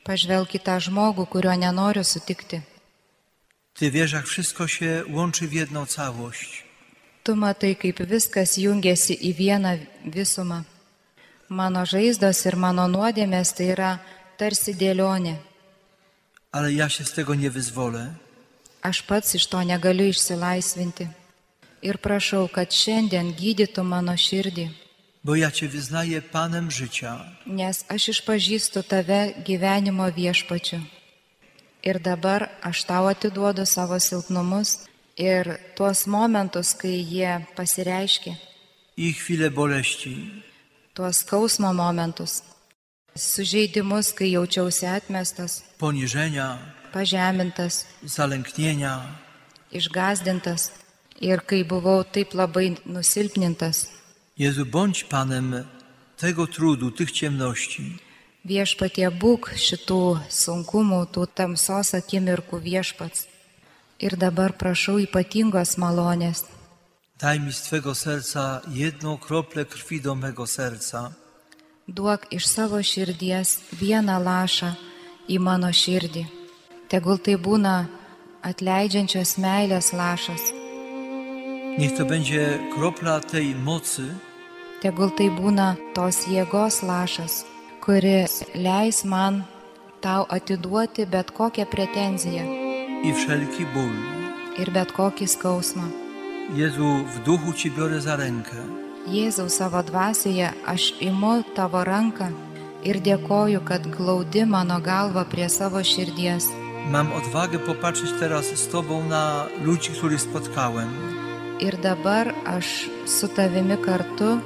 [SPEAKER 3] Pažvelk į tą žmogų, kurio nenoriu sutikti.
[SPEAKER 2] Ty wiesz, jak wszystko się łączy w jedną całość.
[SPEAKER 3] Tu matai, kaip viskas jungiasi į vieną visumą. Mano žaizdos ir mano nuodėmės tai yra tarsi dėlionė.
[SPEAKER 2] Ale ja się z tego nie wyzwolę.
[SPEAKER 3] Aš pats iš to negaliu išsilaisvinti. Ir prašau, kad šiandien gydytų mano širdį,
[SPEAKER 2] bo ja Cię wyznaję Panem życia.
[SPEAKER 3] nes aš išpažįstu tave gyvenimo viešpačiu. Ir dabar aš tau atiduodu savo silpnumus ir tuos momentus, kai jie pasireiškia.
[SPEAKER 2] I chwile boleści,
[SPEAKER 3] tuos skausmo momentus, sužeidimus, kai jaučiausi atmestas,
[SPEAKER 2] poniżenia,
[SPEAKER 3] pažemintas,
[SPEAKER 2] zalęknienia,
[SPEAKER 3] išgazdintas ir kai buvau taip labai nusilpnintas.
[SPEAKER 2] Jezu, bądź Panem tego trudu, tych ciemności.
[SPEAKER 3] Viešpatie būk šitų sunkumų, tų tamsos akimirkų viešpats. Ir dabar prašau ypatingos malonės.
[SPEAKER 2] Daj mi z Twego serca jedną kroplę krwi do mego serca,
[SPEAKER 3] Duok iš savo širdies vieną lašą į mano širdį. Tegul tai būna atleidžiančios meilės lašas.
[SPEAKER 2] niech to będzie kropla tej mocy,
[SPEAKER 3] Tegul tai būna tos jėgos lašas, kuris leis man tau atiduoti bet kokią pretenziją
[SPEAKER 2] i wszelki ból.
[SPEAKER 3] ir bet kokį skausmą.
[SPEAKER 2] Jezu, w duchu Ci biorę za rękę.
[SPEAKER 3] Jėzau savo dvasioje aš imu tavo ranką ir dėkoju, kad glaudi mano galvą prie savo širdies.
[SPEAKER 2] Mam odwagę popatrzeć teraz z Tobą na ludzi, których spotkałem.
[SPEAKER 3] Ir dabar aš su tavimi kartu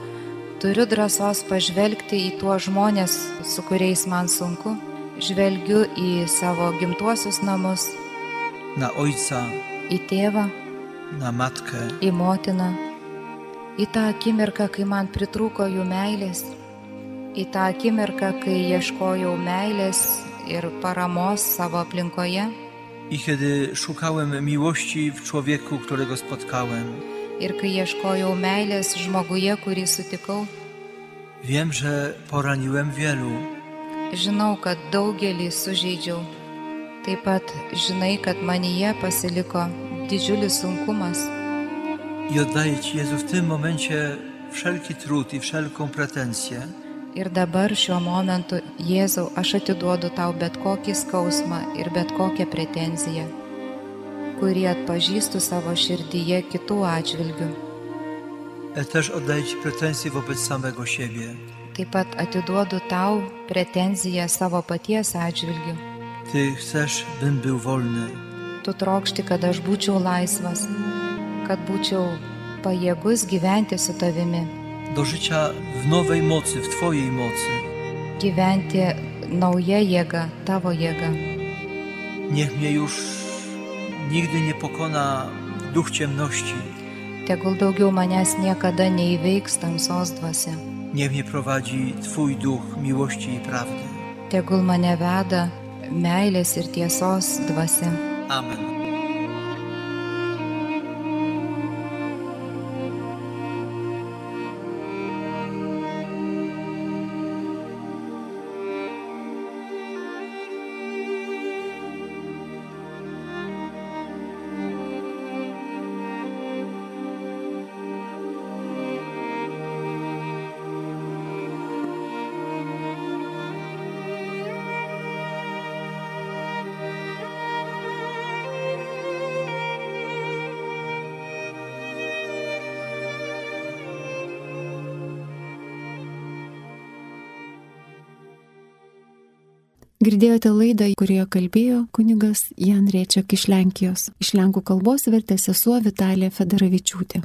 [SPEAKER 3] turiu drąsos pažvelgti į tuos žmonės, su kuriais man sunku. Žvelgiu į savo gimtuosius namus,
[SPEAKER 2] Na ojca,
[SPEAKER 3] į tėvą,
[SPEAKER 2] na matkę,
[SPEAKER 3] į motiną, į tą akimirką, kai man pritrūko jų meilės, į tą akimirką, kai ieškojau meilės ir paramos savo aplinkoje
[SPEAKER 2] I kiedy szukałem miłości w człowieku, którego spotkałem,
[SPEAKER 3] ir kai ieškojau meilės žmoguje, kurį sutikau,
[SPEAKER 2] wiem, że poraniłem wielu,
[SPEAKER 3] žinau, kad daugelį sužeidžiau. Taip pat žinai, kad manyje pasiliko didžiulis sunkumas.
[SPEAKER 2] i oddaję Ci, Jezu, w tym momencie wszelki trud i wszelką pretensję,
[SPEAKER 3] Ir dabar šiuo momentu, Jėzau, aš atiduodu tau bet kokį skausmą ir bet kokią pretenziją, kurį atpažįstu savo širdyje kitų atžvilgių.
[SPEAKER 2] ale też oddaję Ci pretensje wobec samego siebie.
[SPEAKER 3] Taip pat atiduodu tau pretenziją savo paties atžvilgių.
[SPEAKER 2] Ty chcesz, bym był wolny,
[SPEAKER 3] Tu trokšti, kad aš būčiau laisvas, kad būčiau pajėgus gyventi su tavimi,
[SPEAKER 2] do życia w nowej mocy, w Twojej mocy.
[SPEAKER 3] gyventi nauja jėga, tavo jėga.
[SPEAKER 2] Niech mnie już nigdy nie pokona duch ciemności,
[SPEAKER 3] Tegul daugiau manęs niekada neįveiks tamsos dvasia.
[SPEAKER 2] niech mnie prowadzi Twój duch miłości i prawdy.
[SPEAKER 3] tegul mane veda meilės ir tiesos dvasia.
[SPEAKER 2] Amen.
[SPEAKER 1] Girdėjote laidą, kurioje kalbėjo kunigas Jan Riečiak iš Lenkijos. Iš lenkų kalbos vertė sesuo Vitalija Federavičiūtė.